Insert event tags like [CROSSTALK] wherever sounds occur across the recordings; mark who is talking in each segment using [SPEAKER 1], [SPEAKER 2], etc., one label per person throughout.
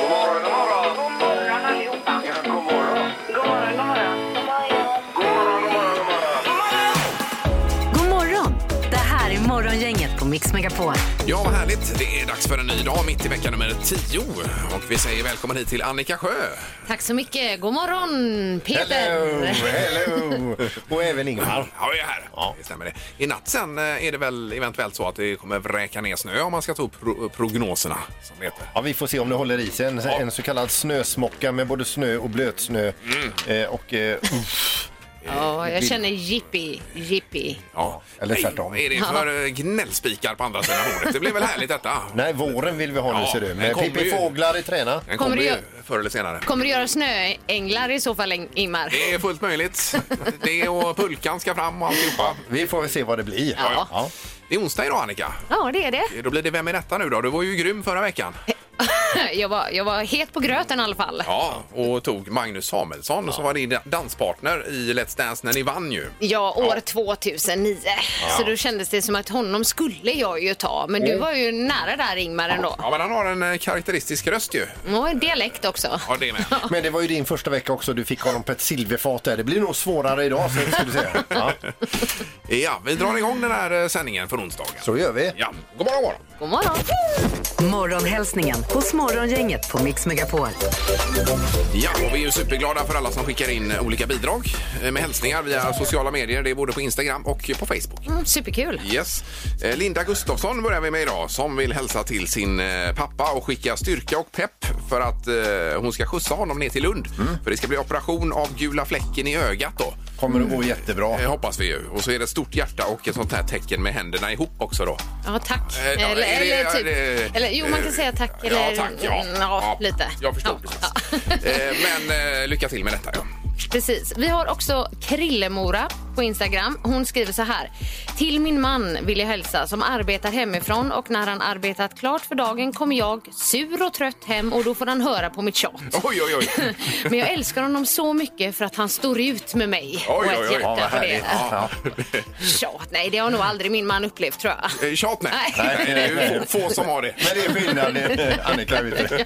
[SPEAKER 1] God morgon, god morgon. God morgon allihopa. Ja, god morgon. God morgon, god morgon. God morgon, god
[SPEAKER 2] God
[SPEAKER 1] morgon, god morgon.
[SPEAKER 2] morgon! Det här är Morgongänget på Mix Megapol.
[SPEAKER 3] Ja, vad härligt. Det är dags för en ny dag mitt i vecka nummer 10. Och vi säger välkommen hit till Annika Sjö.
[SPEAKER 4] Tack så mycket. God morgon, Peter.
[SPEAKER 5] hello! Och även Ingmar.
[SPEAKER 3] Ja, vi är här. Ja. Det stämmer det. I natt sen eh, är det väl eventuellt så att det kommer vräka ner snö om man ska ta upp pro- prognoserna. Som det heter.
[SPEAKER 5] Ja, vi får se om det håller i sig. En, en så kallad snösmocka med både snö och blötsnö.
[SPEAKER 3] Mm.
[SPEAKER 5] Eh, och, eh,
[SPEAKER 4] Ja, jag känner jippi, jippi.
[SPEAKER 3] Ja.
[SPEAKER 5] Eller
[SPEAKER 3] Nej,
[SPEAKER 5] tvärtom.
[SPEAKER 3] Vad är det för eh, gnällspikar på andra sidan bordet? Det blir väl härligt detta?
[SPEAKER 5] nej, våren vill vi ha nu
[SPEAKER 3] Ja,
[SPEAKER 5] ser du.
[SPEAKER 3] den
[SPEAKER 5] Med
[SPEAKER 3] kommer
[SPEAKER 5] Pippi
[SPEAKER 3] ju.
[SPEAKER 5] Fåglar i träna.
[SPEAKER 3] Den
[SPEAKER 4] Kommer
[SPEAKER 3] kommer ju
[SPEAKER 4] det-
[SPEAKER 3] förr eller senare.
[SPEAKER 4] Kommer du göra snöänglar i så fall, Ing- Ingmar?
[SPEAKER 3] Det är fullt möjligt. Det och pulkan ska fram och alltihopa.
[SPEAKER 5] Vi får väl se vad det blir.
[SPEAKER 4] Ja.
[SPEAKER 3] Det är onsdag idag Annika.
[SPEAKER 4] Ja, det är det.
[SPEAKER 3] Eh, Då blir det Vem är detta nu då? Du var ju grym förra veckan.
[SPEAKER 4] [LAUGHS] Jag var, jag var het på gröten i alla fall.
[SPEAKER 3] Ja, och tog Magnus Samuelsson som var din danspartner i Let's Dance när ni vann ju.
[SPEAKER 4] Ja, år 2009. Så då kändes det som att honom skulle jag ju ta. Men
[SPEAKER 3] Mm.
[SPEAKER 4] du var ju nära där, Ingmar, ändå.
[SPEAKER 3] Ja, men han har en eh, karaktäristisk röst ju.
[SPEAKER 4] Och en dialekt också.
[SPEAKER 3] Ja, det med.
[SPEAKER 5] Men det var ju din första vecka också. Du fick honom på ett silverfat där. Det blir nog svårare idag, så ska du säga. Ja,
[SPEAKER 3] Ja, vi drar igång den här eh, sändningen från onsdagen.
[SPEAKER 5] så gör vi.
[SPEAKER 3] Ja, god morgon, god morgon.
[SPEAKER 4] God morgon.
[SPEAKER 2] Morgonhälsningen hos Morgongänget på Mix Megapol.
[SPEAKER 3] Ja, och vi är ju superglada för alla som skickar in eh, olika bidrag eh, med hälsningar via sociala medier. Det är både på Instagram och på Facebook.
[SPEAKER 4] Mm, superkul.
[SPEAKER 3] Yes. Eh, Linda Gustafsson börjar vi med idag som vill hälsa till sin eh, pappa och skicka styrka och pepp för att eh, hon ska skjutsa honom ner till Lund. För det ska bli operation av gula fläcken i ögat då.
[SPEAKER 5] Mm. Kommer att gå jättebra.
[SPEAKER 3] Eh, hoppas vi ju. Och så är det ett stort hjärta och ett sånt här tecken med händerna ihop också då.
[SPEAKER 4] Ja, tack.
[SPEAKER 3] Eh, ja,
[SPEAKER 4] Eller,
[SPEAKER 3] är det-
[SPEAKER 4] eller typ...
[SPEAKER 3] är det-
[SPEAKER 4] Eller, jo, man kan
[SPEAKER 3] eh,
[SPEAKER 4] säga tack. Eller,
[SPEAKER 3] Ja, tack. Ja,
[SPEAKER 4] Mm, ja, lite.
[SPEAKER 3] Jag förstår
[SPEAKER 4] Ja,
[SPEAKER 3] precis.
[SPEAKER 4] ja.
[SPEAKER 3] Eh, Men eh, lycka till med detta. Ja.
[SPEAKER 4] Precis. Vi har också Krillemora på Instagram. Hon skriver så här. Till min man vill jag hälsa som arbetar hemifrån och när han arbetat klart för dagen kommer jag sur och trött hem och då får han höra på mitt tjat.
[SPEAKER 3] Oj, oj, oj.
[SPEAKER 4] Men jag älskar honom så mycket för att han står ut med mig. och
[SPEAKER 3] oj,
[SPEAKER 4] ett
[SPEAKER 3] oj.
[SPEAKER 4] hjärta
[SPEAKER 3] Ja,
[SPEAKER 5] vad
[SPEAKER 4] för det.
[SPEAKER 5] härligt. Ja.
[SPEAKER 4] Tjat, nej det har nog aldrig min man upplevt tror jag.
[SPEAKER 3] [LAUGHS] Eh, Tjat nej.
[SPEAKER 4] Nej.
[SPEAKER 3] nej. Det är ju få, få som har det.
[SPEAKER 5] Men det är skillnad,
[SPEAKER 3] [LAUGHS]
[SPEAKER 5] eh, Annika. Vet du.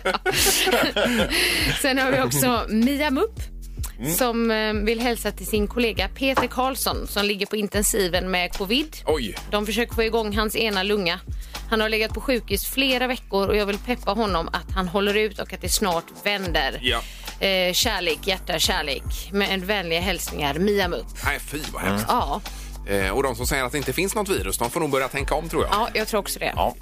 [SPEAKER 4] Sen har vi också Mia Mupp som eh, vill hälsa till sin kollega Peter Karlsson som ligger på intensiven med covid.
[SPEAKER 3] Oj.
[SPEAKER 4] De försöker få igång hans ena lunga. Han har legat på sjukhus flera veckor och jag vill peppa honom att han håller ut och att det snart vänder.
[SPEAKER 3] Ja.
[SPEAKER 4] Eh, kärlek, hjärta, kärlek. Med en vänliga hälsningar, Mia Mupp.
[SPEAKER 3] Nej, fy vad
[SPEAKER 5] Mm.
[SPEAKER 3] hemskt.
[SPEAKER 4] Ja,
[SPEAKER 3] Eh, Och de som säger att det inte finns något virus, de får nog börja tänka om tror jag.
[SPEAKER 4] ja, jag tror också det.
[SPEAKER 5] Ja.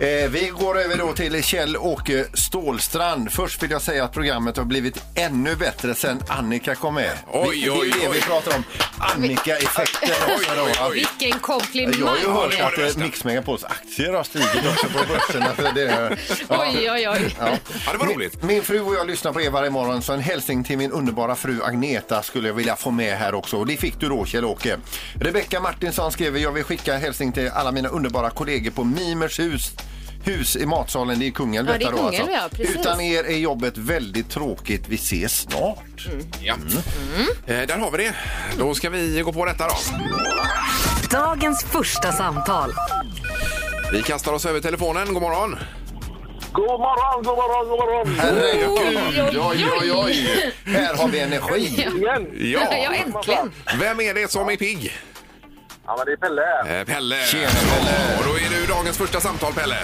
[SPEAKER 5] Eh, vi går över då till Kjell-Åke Stålstrand. Först vill jag säga att programmet har blivit ännu bättre sen Annika kom med.
[SPEAKER 3] Oj,
[SPEAKER 5] Det- det är
[SPEAKER 3] oj,
[SPEAKER 5] det
[SPEAKER 3] oj.
[SPEAKER 5] vi pratar om. Annika-effekten.
[SPEAKER 3] Oj, oj, oj.
[SPEAKER 4] Vilken komplimang!
[SPEAKER 5] Jag har ju hört
[SPEAKER 3] det var det
[SPEAKER 5] att
[SPEAKER 3] bästa.
[SPEAKER 5] eh, Mix Megapols aktier har stigit också på börsen. Alltså det, är- ja.
[SPEAKER 4] Oj, oj, oj.
[SPEAKER 5] Ja.
[SPEAKER 3] Ja, det var roligt.
[SPEAKER 5] Min, min fru och jag lyssnar på er varje morgon så en hälsning till min underbara fru Agneta skulle jag vilja få med här också. Och det fick du då Kjell-Åke. Rebecka Martinsson skrev jag vill skicka en hälsning till alla mina underbara kollegor på Mimers hus hus i matsalen, det är i Kungälv
[SPEAKER 4] Ja, det är
[SPEAKER 5] detta
[SPEAKER 4] Kungälv, ja, precis.
[SPEAKER 5] alltså. Utan er är jobbet väldigt tråkigt. Vi ses snart.
[SPEAKER 3] Ja.
[SPEAKER 5] Mm.
[SPEAKER 3] Eh, Där har vi det. Då ska vi gå på detta då.
[SPEAKER 2] Dagens första samtal.
[SPEAKER 3] Vi kastar oss över telefonen. God morgon.
[SPEAKER 1] God morgon, god morgon, god morgon.
[SPEAKER 5] Herregud, oj, oj, oj. Här har vi energi.
[SPEAKER 1] Igen.
[SPEAKER 3] Ja.
[SPEAKER 4] [LAUGHS] Ja, äntligen!
[SPEAKER 3] Vem är det som är pigg?
[SPEAKER 1] Ja, men det är Pelle.
[SPEAKER 3] Eh, Pelle.
[SPEAKER 5] Tjena, Pelle.
[SPEAKER 3] Och då är du dagens första samtal, Pelle.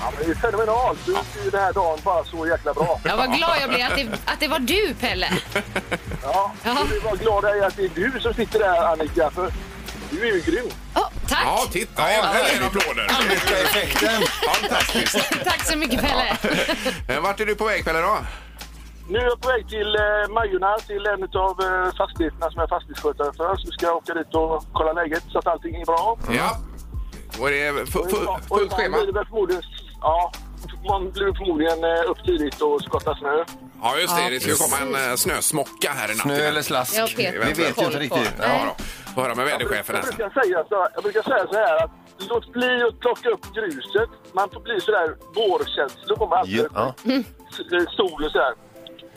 [SPEAKER 1] Ja, men det är fenomenalt. Du styr den här dagen bara så jäkla bra.
[SPEAKER 4] Jag var glad jag blev att det, att det var du, Pelle.
[SPEAKER 1] Ja,
[SPEAKER 4] Ja.
[SPEAKER 1] jag är bara glad jag är att det är du som sitter där, Annika. För du är ju grym.
[SPEAKER 4] Oh, tack!
[SPEAKER 3] Ja, titta. Äntligen applåder.
[SPEAKER 5] Annika-effekten.
[SPEAKER 3] Fantastiskt.
[SPEAKER 4] Tack så mycket, Pelle.
[SPEAKER 3] Eh, Vart är du på väg, Pelle? Då?
[SPEAKER 5] Mm.
[SPEAKER 1] Nu är jag på väg till eh, Majorna, till en av eh, fastigheterna som jag är fastighetsskötare för. Så ska jag åka dit och kolla läget så att allting är bra.
[SPEAKER 3] Ja. Då är det fu-
[SPEAKER 1] Och imorgon-
[SPEAKER 3] fu-
[SPEAKER 1] och
[SPEAKER 3] fullt
[SPEAKER 1] imorgon
[SPEAKER 3] schema.
[SPEAKER 1] blir det väl förmodligen, ja, man blir förmodligen eh, upp tidigt och skottar snö.
[SPEAKER 3] Ja, just det.
[SPEAKER 4] Ja,
[SPEAKER 3] Det ska ju komma en eh, snösmocka här i natt.
[SPEAKER 5] Snö eller slask.
[SPEAKER 4] Ja,
[SPEAKER 5] Vi
[SPEAKER 4] Peter,
[SPEAKER 5] vet ju
[SPEAKER 4] koll
[SPEAKER 5] inte
[SPEAKER 4] på.
[SPEAKER 5] riktigt.
[SPEAKER 4] Nej.
[SPEAKER 3] Ja, då. Får höra med väderchefen.
[SPEAKER 1] jag,
[SPEAKER 3] här sen.
[SPEAKER 1] brukar säga så, jag brukar säga så här att låt bli att plocka upp gruset. Man får bli så där vårkänslor kommer alltid.
[SPEAKER 5] Ja. Ja.
[SPEAKER 1] S- Sol och så där.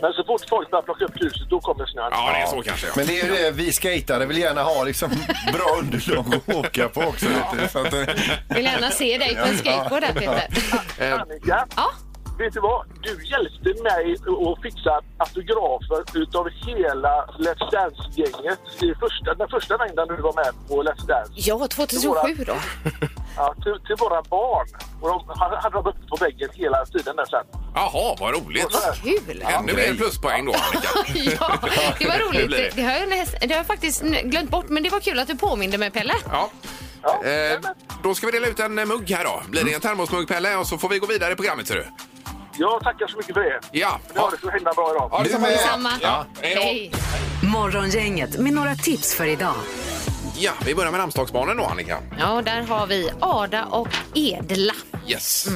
[SPEAKER 1] Men så fort folk börjar plocka upp gruset, då kommer snön.
[SPEAKER 3] Ja, det är så kanske. Ja.
[SPEAKER 5] Men det är ju det, vi skejtare vill gärna ha liksom bra underlag att åka på också. Vet du? Så att, eh,
[SPEAKER 4] Vill gärna se dig på en skateboard där, Peter.
[SPEAKER 3] Eh,
[SPEAKER 1] Annika,
[SPEAKER 4] Ja,
[SPEAKER 1] Vet du vad? Du hjälpte mig att fixa autografer utav hela Let's Dance-gänget. i första- Den första mängden du var med på Let's Dance.
[SPEAKER 4] Ja, 2007 då.
[SPEAKER 1] Ja, till, till våra barn. Och de hade hade dem uppe på väggen hela tiden där sen.
[SPEAKER 3] Jaha, vad roligt!
[SPEAKER 4] Kul!
[SPEAKER 3] Ännu mer pluspoäng då, Annika.
[SPEAKER 4] Ja, det var
[SPEAKER 3] Det
[SPEAKER 4] roligt.
[SPEAKER 3] blir
[SPEAKER 4] Det, det,
[SPEAKER 3] det.
[SPEAKER 4] har jag, näst- det har jag faktiskt n- glömt bort, men det var kul att du påminde mig, Pelle.
[SPEAKER 3] Ja.
[SPEAKER 1] Ja, Mm.
[SPEAKER 3] Eh,
[SPEAKER 1] jajamän.
[SPEAKER 3] då ska vi dela ut en eh, mugg här då. Blir det en termosmugg Pelle och så får vi gå vidare i programmet ser du.
[SPEAKER 1] Jag tackar så mycket för det.
[SPEAKER 3] Ja.
[SPEAKER 1] Ni har det så himla bra idag.
[SPEAKER 3] Ja,
[SPEAKER 5] Du
[SPEAKER 3] detsamma,
[SPEAKER 5] med.
[SPEAKER 3] detsamma.
[SPEAKER 4] Samma.
[SPEAKER 3] Ja, hej då.
[SPEAKER 4] Hej.
[SPEAKER 2] Morgongänget med några tips för idag.
[SPEAKER 3] ja, vi börjar med namnsdagsbarnen då Annika.
[SPEAKER 4] Ja, där har vi Ada och Edla.
[SPEAKER 3] Yes,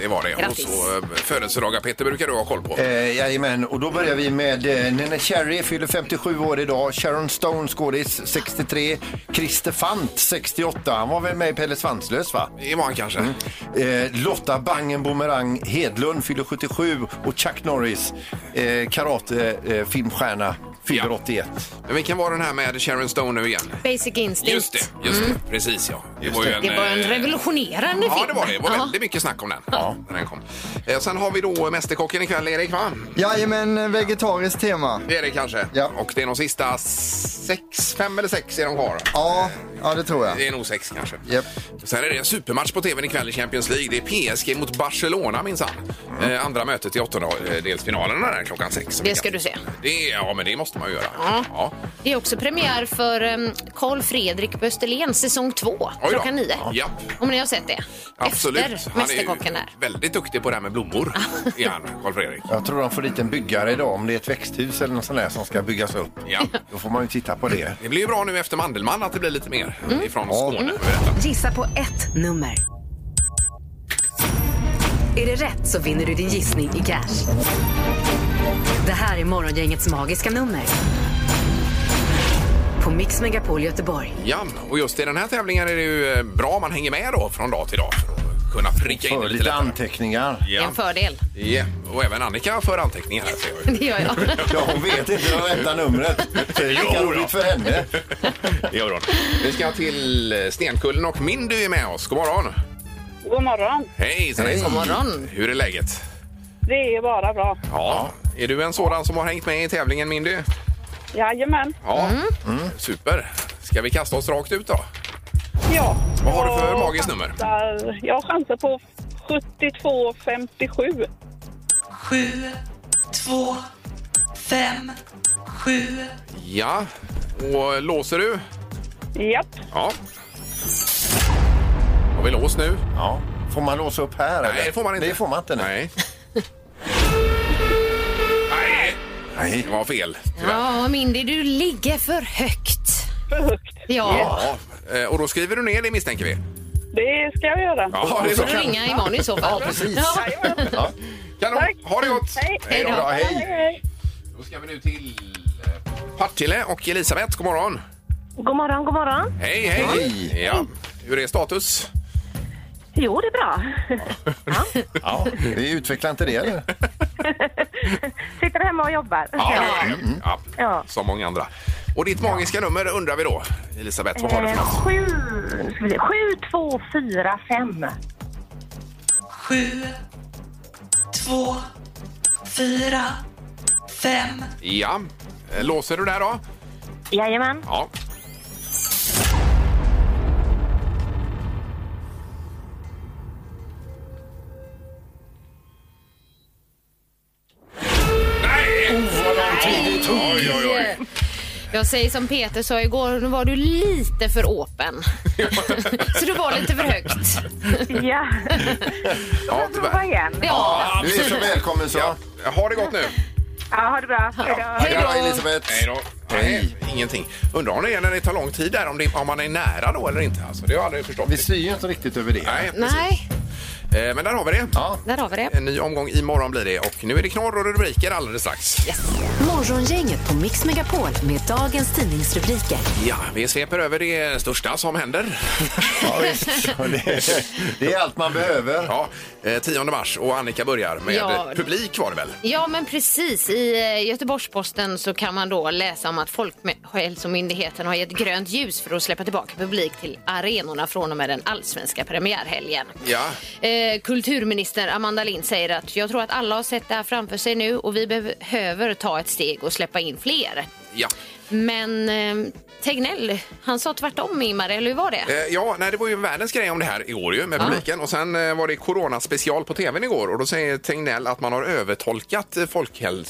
[SPEAKER 3] det var det.
[SPEAKER 4] Grattis.
[SPEAKER 3] Och så eh, födelsedagar Peter brukar du ha koll på.
[SPEAKER 5] Eh, jajamän, och då börjar vi med eh, Nene Cherry, fyller 57 år idag. Sharon Stone, skådis, 63. Christer Fant, 68. Han var väl med i Pelle Svanslös, va?
[SPEAKER 3] Det var han kanske.
[SPEAKER 5] Eh, Lotta Bangen Boomerang Hedlund fyller 77 och Chuck Norris, eh, karatefilmstjärna, eh, filmstjärna, fyller
[SPEAKER 3] Ja.
[SPEAKER 5] 81.
[SPEAKER 3] Men vilken var den här med Sharon Stone nu igen?
[SPEAKER 4] Basic Instinct. Mm.
[SPEAKER 3] Just det, just det. Precis ja. Det var ju en,
[SPEAKER 4] Det var en
[SPEAKER 3] eh,
[SPEAKER 4] revolutionerande film.
[SPEAKER 3] Ja, det var det. Det var
[SPEAKER 4] Ja.
[SPEAKER 3] väldigt mycket snack om den. När den kom. Eh, Sen har vi då Mästerkocken ikväll, Erik va?
[SPEAKER 6] Jajamän, vegetariskt tema.
[SPEAKER 3] Det är det kanske.
[SPEAKER 6] Ja.
[SPEAKER 3] Och det är de sista sex, fem eller sex är de kvar.
[SPEAKER 6] Ja, ja det tror jag.
[SPEAKER 3] Det är nog sex kanske.
[SPEAKER 6] Japp.
[SPEAKER 3] Sen är det en supermatch på tvn ikväll i Champions League. Det är PSG mot Barcelona minsann. Eh, andra mötet i åttondelsfinalerna där klockan sex.
[SPEAKER 4] Det ska du se.
[SPEAKER 3] Det, ja, men det måste man ju göra.
[SPEAKER 4] Ja.
[SPEAKER 3] Ja.
[SPEAKER 4] Det är också premiär för em, Carl Fredrik på Österlen, säsong två,
[SPEAKER 3] då.
[SPEAKER 4] klockan nio.
[SPEAKER 3] Ja.
[SPEAKER 4] Om ni har sett det.
[SPEAKER 3] Absolut. [LAUGHS]
[SPEAKER 4] Efter
[SPEAKER 3] Han är ju
[SPEAKER 4] Mästerkocken där.
[SPEAKER 3] väldigt duktig på det här med blommor. är han, Carl Fredrik.
[SPEAKER 5] Jag tror de får dit en byggare idag om det är ett växthus eller något sånt där som ska byggas upp.
[SPEAKER 3] Ja.
[SPEAKER 5] Då får man ju titta på det.
[SPEAKER 3] Det blir ju bra nu efter Mandelmann att det blir lite mer ifrån Skåne. får vi veta.
[SPEAKER 2] Gissa på ett nummer. Är det rätt så vinner du din gissning i cash. Det här är Morgongängets magiska nummer. På Mix Megapol Göteborg.
[SPEAKER 3] Ja, och just i den här tävlingen är det ju eh, bra om man hänger med då från dag till dag för att kunna pricka in
[SPEAKER 5] För
[SPEAKER 3] det lite
[SPEAKER 5] lite
[SPEAKER 3] lättare.
[SPEAKER 5] anteckningar.
[SPEAKER 4] Det är
[SPEAKER 3] Ja.
[SPEAKER 4] en fördel. [LAUGHS]
[SPEAKER 3] Ja, och även Annika för anteckningar här ser jag ju.
[SPEAKER 4] Det gör jag.
[SPEAKER 5] Ja, hon vet inte det rätta numret. Det är
[SPEAKER 3] Jo
[SPEAKER 5] lika
[SPEAKER 3] då.
[SPEAKER 5] roligt för henne.
[SPEAKER 3] Det gör hon. Vi ska till eh, Stenkullen och Mindy är med oss. God morgon!
[SPEAKER 7] God morgon.
[SPEAKER 3] Hej!
[SPEAKER 5] Hej. God
[SPEAKER 3] hejsan.
[SPEAKER 4] morgon.
[SPEAKER 3] Hur är läget?
[SPEAKER 7] Det är bara bra.
[SPEAKER 3] Ja. Är du en sådan som har hängt med i tävlingen Mindy?
[SPEAKER 7] Jajamän.
[SPEAKER 3] Ja.
[SPEAKER 4] Mm.
[SPEAKER 3] Mm. Super! Ska vi kasta oss rakt ut då?
[SPEAKER 7] Ja.
[SPEAKER 3] Vad har du för
[SPEAKER 7] Jag
[SPEAKER 3] magiskt nummer?
[SPEAKER 7] chansar- Jag chansar på 7257.
[SPEAKER 3] Ja, och låser du?
[SPEAKER 7] Japp.
[SPEAKER 3] Ja. Har vi lås nu?
[SPEAKER 5] Ja. Får man låsa upp här?
[SPEAKER 3] Nej,
[SPEAKER 5] eller?
[SPEAKER 3] det får man inte.
[SPEAKER 5] Det får man inte. Nej.
[SPEAKER 3] Nej. Nej!
[SPEAKER 5] Nej.
[SPEAKER 3] Det var fel, tyvärr.
[SPEAKER 4] Ja, Mindy, du ligger för högt.
[SPEAKER 7] För högt.
[SPEAKER 4] Ja,
[SPEAKER 3] Ja. eh, Och då skriver du ner det misstänker vi?
[SPEAKER 7] Det ska jag göra.
[SPEAKER 3] Ja, det är
[SPEAKER 4] får
[SPEAKER 3] så.
[SPEAKER 4] du ringa imorgon i så fall. Ja,
[SPEAKER 5] precis.
[SPEAKER 7] Jajamän.
[SPEAKER 3] Kanon,
[SPEAKER 7] Tack.
[SPEAKER 3] ha det gott!
[SPEAKER 7] Hej.
[SPEAKER 3] då.
[SPEAKER 4] Hej
[SPEAKER 5] Ja,
[SPEAKER 7] Hej,
[SPEAKER 5] hej.
[SPEAKER 7] hej.
[SPEAKER 3] Då ska vi nu till eh, Partille och Elisabeth, god morgon!
[SPEAKER 8] God morgon, god morgon.
[SPEAKER 3] Hej, hej!
[SPEAKER 5] Hej.
[SPEAKER 3] Ja. Hur är status?
[SPEAKER 8] Jo, det är bra.
[SPEAKER 5] Ja. Vi utvecklar inte det eller?
[SPEAKER 8] Sitter hemma och jobbar.
[SPEAKER 3] det är det. Ja.
[SPEAKER 8] Ja.
[SPEAKER 3] Som många andra. Och ditt magiska nummer undrar vi då, Elisabeth, vad har du
[SPEAKER 8] Eh,
[SPEAKER 7] Eh.
[SPEAKER 3] för något?
[SPEAKER 8] 7, 7, 2, 4, 5.
[SPEAKER 3] Ja, Eh, låser du där då?
[SPEAKER 8] Jajamän.
[SPEAKER 3] Ja. Nej! Oj, oj, oj.
[SPEAKER 4] Jag säger som Peter sa igår, nu var du lite för
[SPEAKER 3] [LAUGHS]
[SPEAKER 4] åpen. [LAUGHS] Så du var lite för högt.
[SPEAKER 8] Ja.
[SPEAKER 3] Ja,
[SPEAKER 8] Prova
[SPEAKER 3] tyvärr.
[SPEAKER 8] igen.
[SPEAKER 4] Ja,
[SPEAKER 5] Du är så välkommen så.
[SPEAKER 3] Ja, ha det gott nu.
[SPEAKER 8] Ja, ha det bra. Hej då.
[SPEAKER 5] Ha det bra Elisabeth.
[SPEAKER 3] Hej då. Nej, ingenting. Undrar om det är när det tar lång tid där, om, det, om man är nära då eller inte. Alltså, det har jag aldrig förstått.
[SPEAKER 5] Vi styr ju inte riktigt över det.
[SPEAKER 3] Nej, precis.
[SPEAKER 4] nej,
[SPEAKER 3] Eh, Men där har vi det.
[SPEAKER 5] Ja.
[SPEAKER 4] där har vi det.
[SPEAKER 3] En ny omgång imorgon blir det och nu är det knorr och rubriker alldeles strax.
[SPEAKER 2] Morgon Morgongänget på Mix Megapol med dagens tidningsrubriker.
[SPEAKER 3] Ja, vi sveper över det största som [LAUGHS] händer.
[SPEAKER 5] Ja, visst. Och det, det är allt man behöver.
[SPEAKER 3] Ja, eh, 10 mars och Annika börjar med
[SPEAKER 4] Ja.
[SPEAKER 3] publik var det väl?
[SPEAKER 4] Ja, men precis. I eh, Göteborgs-Posten så kan man då läsa om att Folkhälsomyndigheten har gett grönt ljus för att släppa tillbaka publik till arenorna från och med den allsvenska premiärhelgen.
[SPEAKER 3] Ja.
[SPEAKER 4] Eh, kulturminister Amanda Lind säger att jag tror att alla har sett det här framför sig nu och vi behöver ta ett steg och släppa in fler.
[SPEAKER 3] Ja.
[SPEAKER 4] Men eh, Tegnell, han sa tvärtom Ingmar, eller hur var det?
[SPEAKER 3] Eh, Ja, nej, det var ju världens grej om det här i år ju med publiken. Och sen eh, var det coronaspecial på tvn igår och då säger Tegnell att man har övertolkat eh,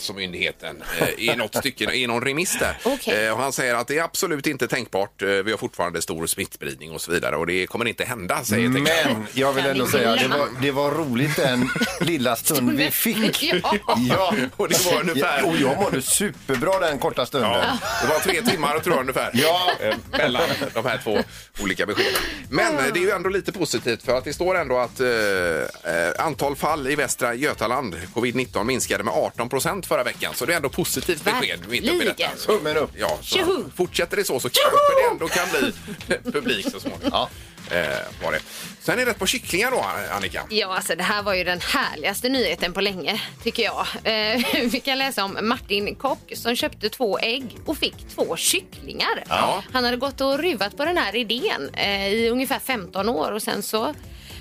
[SPEAKER 3] Folkhälsomyndigheten eh,
[SPEAKER 4] [LAUGHS]
[SPEAKER 3] i något stycke, i någon remiss där.
[SPEAKER 4] Okej.
[SPEAKER 3] Eh, Och han säger att det är absolut inte tänkbart. eh, Vi har fortfarande stor smittspridning och så vidare och det kommer inte hända, säger Tegnell.
[SPEAKER 5] Mm. Men jag vill
[SPEAKER 4] Kan
[SPEAKER 5] ändå
[SPEAKER 4] vi
[SPEAKER 5] säga det
[SPEAKER 4] skylla?
[SPEAKER 5] var, det var roligt den lilla stund vi fick.
[SPEAKER 4] Ja.
[SPEAKER 5] Ja,
[SPEAKER 3] Och det var ungefär-
[SPEAKER 5] Och jag mådde superbra den korta stunden.
[SPEAKER 3] Ja, det var tre timmar tror jag ungefär
[SPEAKER 5] Ja.
[SPEAKER 3] eh, mellan de här två olika beskeden. Men eh, det
[SPEAKER 4] Ah.
[SPEAKER 3] är ju ändå lite positivt för att det står ändå att eh, eh, antal fall i Västra Götaland, covid-19, minskade med 18 procent förra veckan. Så det är ändå positivt besked mitt uppe i detta.
[SPEAKER 4] Verkligen.
[SPEAKER 3] Så,
[SPEAKER 5] Tummen upp.
[SPEAKER 3] ja, så
[SPEAKER 4] Tjoho!
[SPEAKER 3] fortsätter det så så kanske det ändå kan bli [LAUGHS] publik så småningom.
[SPEAKER 5] Ja.
[SPEAKER 3] Eh, var det. Sen är det ett par kycklingar då, Annika.
[SPEAKER 4] Ja, alltså det här var ju den härligaste nyheten på länge, tycker jag. Eh, [LAUGHS] vi kan läsa om Martin Kock som köpte två ägg och fick två kycklingar.
[SPEAKER 3] Ja.
[SPEAKER 4] Han hade gått och ruvat på den här idén eh, i ungefär 15 år och sen så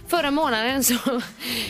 [SPEAKER 4] Förra månaden så [LAUGHS]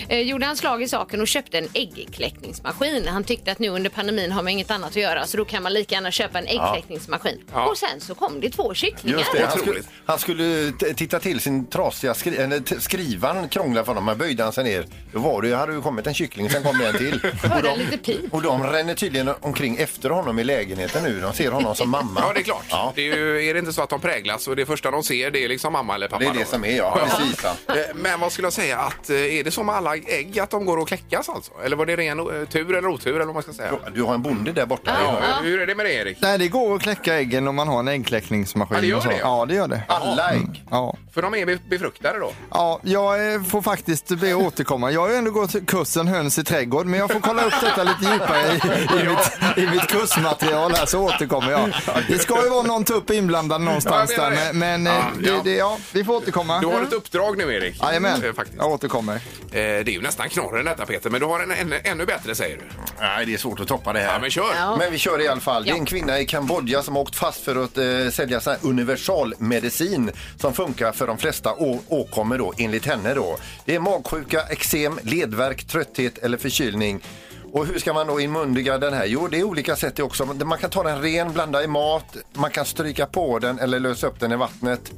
[SPEAKER 4] eh, gjorde han slag i saken och köpte en äggkläckningsmaskin. Han tyckte att nu under pandemin har man inget annat att göra så då kan man lika gärna köpa en äggkläckningsmaskin.
[SPEAKER 3] Ja.
[SPEAKER 4] Och sen så kom det två kycklingar.
[SPEAKER 5] eh, Just det, han skulle,
[SPEAKER 3] Otroligt.
[SPEAKER 5] han skulle t- titta till sin trasiga skri eller t- skrivaren krånglade för honom. Men böjde han sig ner, då var det, ju- hade det ju kommit en kyckling, sen kom det en till. Och
[SPEAKER 4] en liten pip.
[SPEAKER 5] och de ränner tydligen omkring efter honom i lägenheten nu. De ser honom som mamma.
[SPEAKER 3] Ja, det är klart.
[SPEAKER 5] Ja.
[SPEAKER 3] Det är, ju, är det inte så att de präglas och det första de ser det är liksom mamma eller pappa?
[SPEAKER 5] Det är det
[SPEAKER 3] då?
[SPEAKER 5] som är, ja. Precis, ja.
[SPEAKER 3] Eh, Men vad skulle jag säga att eh, är det som med alla ägg att de går att kläckas alltså? Eller var det ren eh, tur eller otur eller vad man ska säga?
[SPEAKER 5] Du har en bonde där borta.
[SPEAKER 3] Ja, Hur är det med det Erik?
[SPEAKER 6] Nej, det går att kläcka äggen om man har en äggkläckningsmaskin.
[SPEAKER 3] Ja, det gör
[SPEAKER 6] och så.
[SPEAKER 3] det.
[SPEAKER 6] Ja, det gör det. Mm.
[SPEAKER 5] Alla ägg.
[SPEAKER 6] Ja.
[SPEAKER 3] För de är be- befruktade då?
[SPEAKER 6] Ja, jag eh, får faktiskt be att återkomma. Jag har ju ändå gått kursen höns i trädgård, men jag får kolla [LAUGHS] upp detta lite djupare i,
[SPEAKER 5] ben,
[SPEAKER 6] i, mitt, i mitt kursmaterial här så återkommer jag. Det ska ju vara någon tupp inblandad någonstans
[SPEAKER 3] Ja, jag
[SPEAKER 6] där,
[SPEAKER 3] menar det.
[SPEAKER 6] men, men eh,
[SPEAKER 3] Ja, ja.
[SPEAKER 6] det, det, ja, vi får
[SPEAKER 3] Du har
[SPEAKER 6] återkomma.
[SPEAKER 3] ett uppdrag nu Erik.
[SPEAKER 6] Jajamän,
[SPEAKER 3] Eh, Faktiskt. Eh,
[SPEAKER 6] jag återkommer.
[SPEAKER 3] Det är ju nästan knorren detta Peter, men du har en ännu, ännu bättre säger du.
[SPEAKER 5] Nej, det är svårt att toppa det här.
[SPEAKER 3] Ja men kör!
[SPEAKER 4] Ja.
[SPEAKER 5] Men vi kör i alla fall. Det är en kvinna i Kambodja som har åkt fast för att eh, sälja sån här universalmedicin som funkar för de flesta å- åkommor då, enligt henne då. Det är magsjuka, eksem, ledvärk, trötthet eller förkylning. Och hur ska man då inmundiga den här? Jo, det är olika sätt det också. Man kan ta den ren, blanda i mat, man kan stryka på den eller lösa upp den i vattnet.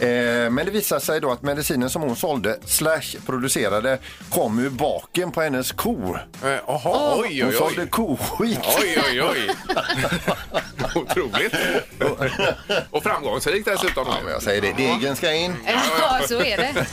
[SPEAKER 5] Eh, men det visar sig då att medicinen som hon sålde, slash producerade, kom ur baken på hennes ko.
[SPEAKER 3] Eh, Jaha, oj
[SPEAKER 5] Hon
[SPEAKER 3] oj
[SPEAKER 5] sålde
[SPEAKER 3] oj.
[SPEAKER 5] koskit.
[SPEAKER 3] Oj,
[SPEAKER 5] [LAUGHS]
[SPEAKER 3] oj, oj. Otroligt. Och framgångsrikt dessutom.
[SPEAKER 5] Ja, men jag säger det. Degen ska in.
[SPEAKER 4] Ja, så är
[SPEAKER 5] [LAUGHS]
[SPEAKER 4] det.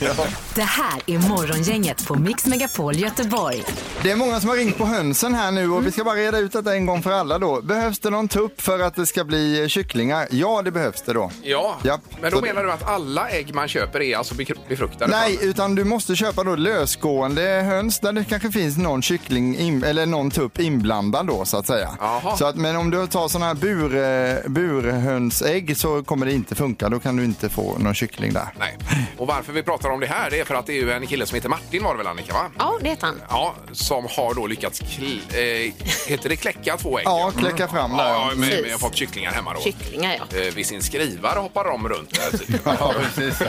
[SPEAKER 2] Det här är Morgongänget på Mix Megapol Göteborg.
[SPEAKER 6] Det är många som har ringt på hönsen här nu och vi ska bara reda ut detta en gång för alla då. Behövs det någon tupp för att det ska bli eh, kycklingar? Ja, det behövs det då.
[SPEAKER 3] Ja,
[SPEAKER 6] Ja,
[SPEAKER 3] men då
[SPEAKER 6] så-
[SPEAKER 3] menar du att alla ägg man köper är alltså be- befruktade?
[SPEAKER 6] Nej, utan du måste köpa då lösgående höns där det kanske finns någon kyckling in, eller någon tupp inblandad då så att säga.
[SPEAKER 3] Jaha.
[SPEAKER 6] Så att, men om du tar sådana här bur, eh, burhönsägg så kommer det inte funka. Då kan du inte få någon kyckling där.
[SPEAKER 3] Nej. Och varför vi pratar om det här det är för att det är ju en kille som heter Martin var det väl Annika? Va?
[SPEAKER 4] Ja, det heter han.
[SPEAKER 3] Ja, som har då lyckats kl- eh, heter det kläcka två ägg.
[SPEAKER 6] Ja, kläcka fram där.
[SPEAKER 3] Ja, ja, men
[SPEAKER 4] Precis.
[SPEAKER 3] men jag har fått kycklingar hemma då.
[SPEAKER 4] Kycklingar, ja.
[SPEAKER 3] Eh, vid sin skrivare hoppar de runt. där, typ.
[SPEAKER 5] Ja, precis.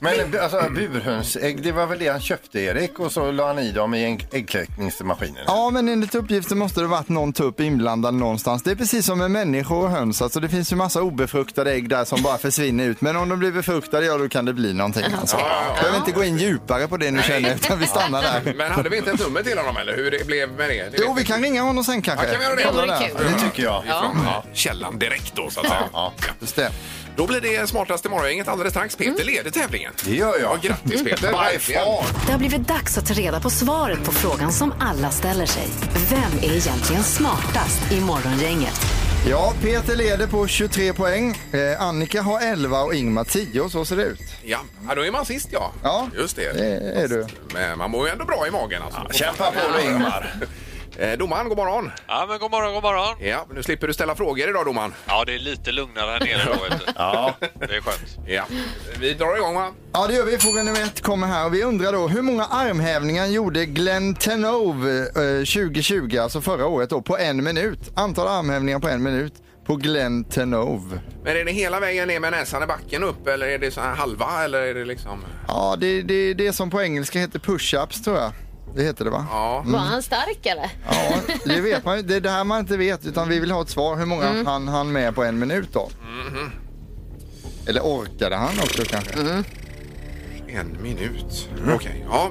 [SPEAKER 5] Men alltså, burhönsägg, det var väl det han köpte, Erik, och så la han i dem i ägg- äggkläckningsmaskinen.
[SPEAKER 6] Ja, men enligt uppgifter måste det varit någon tupp inblandad någonstans. Det är precis som med människor och höns. Alltså, det finns ju massa obefruktade ägg där som bara försvinner ut. Men om de blir befruktade, ja då kan det bli någonting. Alltså. Behöver inte gå in djupare på det nu känner jag, utan vi stannar där.
[SPEAKER 3] men hade vi inte ett nummer till honom eller hur det blev med det? det
[SPEAKER 6] Jo,
[SPEAKER 3] vet
[SPEAKER 6] vi kan ringa honom sen kanske.
[SPEAKER 3] Ja, kan vi göra det?
[SPEAKER 4] Det
[SPEAKER 6] Kolla
[SPEAKER 4] vore
[SPEAKER 6] där.
[SPEAKER 4] kul.
[SPEAKER 5] Det tycker jag.
[SPEAKER 3] vi Från eh, källan direkt då så att säga.
[SPEAKER 5] Ja.
[SPEAKER 6] Just det.
[SPEAKER 3] Då blir det smartaste morgongänget alldeles strax. Peter leder tävlingen.
[SPEAKER 5] Mm. Det gör jag. Mm.
[SPEAKER 3] Ja, grattis Peter.
[SPEAKER 5] By
[SPEAKER 3] Verkligen.
[SPEAKER 5] far.
[SPEAKER 2] Mm. Det har blivit dags att ta reda på svaret på frågan som alla ställer sig. Vem är egentligen smartast i Morgongänget?
[SPEAKER 6] Ja, Peter leder på 23 poäng. Eh, Annika har 11 och Ingmar 10. Så ser det ut.
[SPEAKER 3] Ja. ja, då är man sist ja.
[SPEAKER 6] Ja.
[SPEAKER 3] Just det.
[SPEAKER 6] Det är du.
[SPEAKER 3] Men man mår ju ändå bra i magen alltså.
[SPEAKER 5] Kämpa på nu, Ingmar.
[SPEAKER 3] [LAUGHS] Eh, domaren, god morgon!
[SPEAKER 9] Ja, men god morgon, god morgon.
[SPEAKER 3] Ja, nu slipper du ställa frågor idag domaren.
[SPEAKER 9] Ja, det är lite lugnare här nere då. Vet du.
[SPEAKER 5] Ja.
[SPEAKER 9] [LAUGHS] Det är skönt.
[SPEAKER 3] Ja. Vi drar igång va?
[SPEAKER 6] Ja, det gör vi. Fråga nummer ett kommer här. Och vi undrar då, hur många armhävningar gjorde Glenn Tenove eh, 2020, alltså förra året, då, på en minut? Antal armhävningar på en minut på Glenn Tenove.
[SPEAKER 3] Men är det hela vägen ner med näsan i backen upp eller är det så här halva eller är det liksom?
[SPEAKER 6] Ja, det, det, det som på engelska heter push-ups, tror jag. Det heter det, va?
[SPEAKER 3] Ja.
[SPEAKER 4] Var han stark eller?
[SPEAKER 6] Mm.
[SPEAKER 4] [LAUGHS]
[SPEAKER 6] Ja, det vet man ju. Det är det här man inte vet, utan vi vill ha ett svar. Hur många han han med på en minut då?
[SPEAKER 9] Mhm.
[SPEAKER 6] Eller orkade han också kanske? Mm.
[SPEAKER 3] En minut. Okej, ja.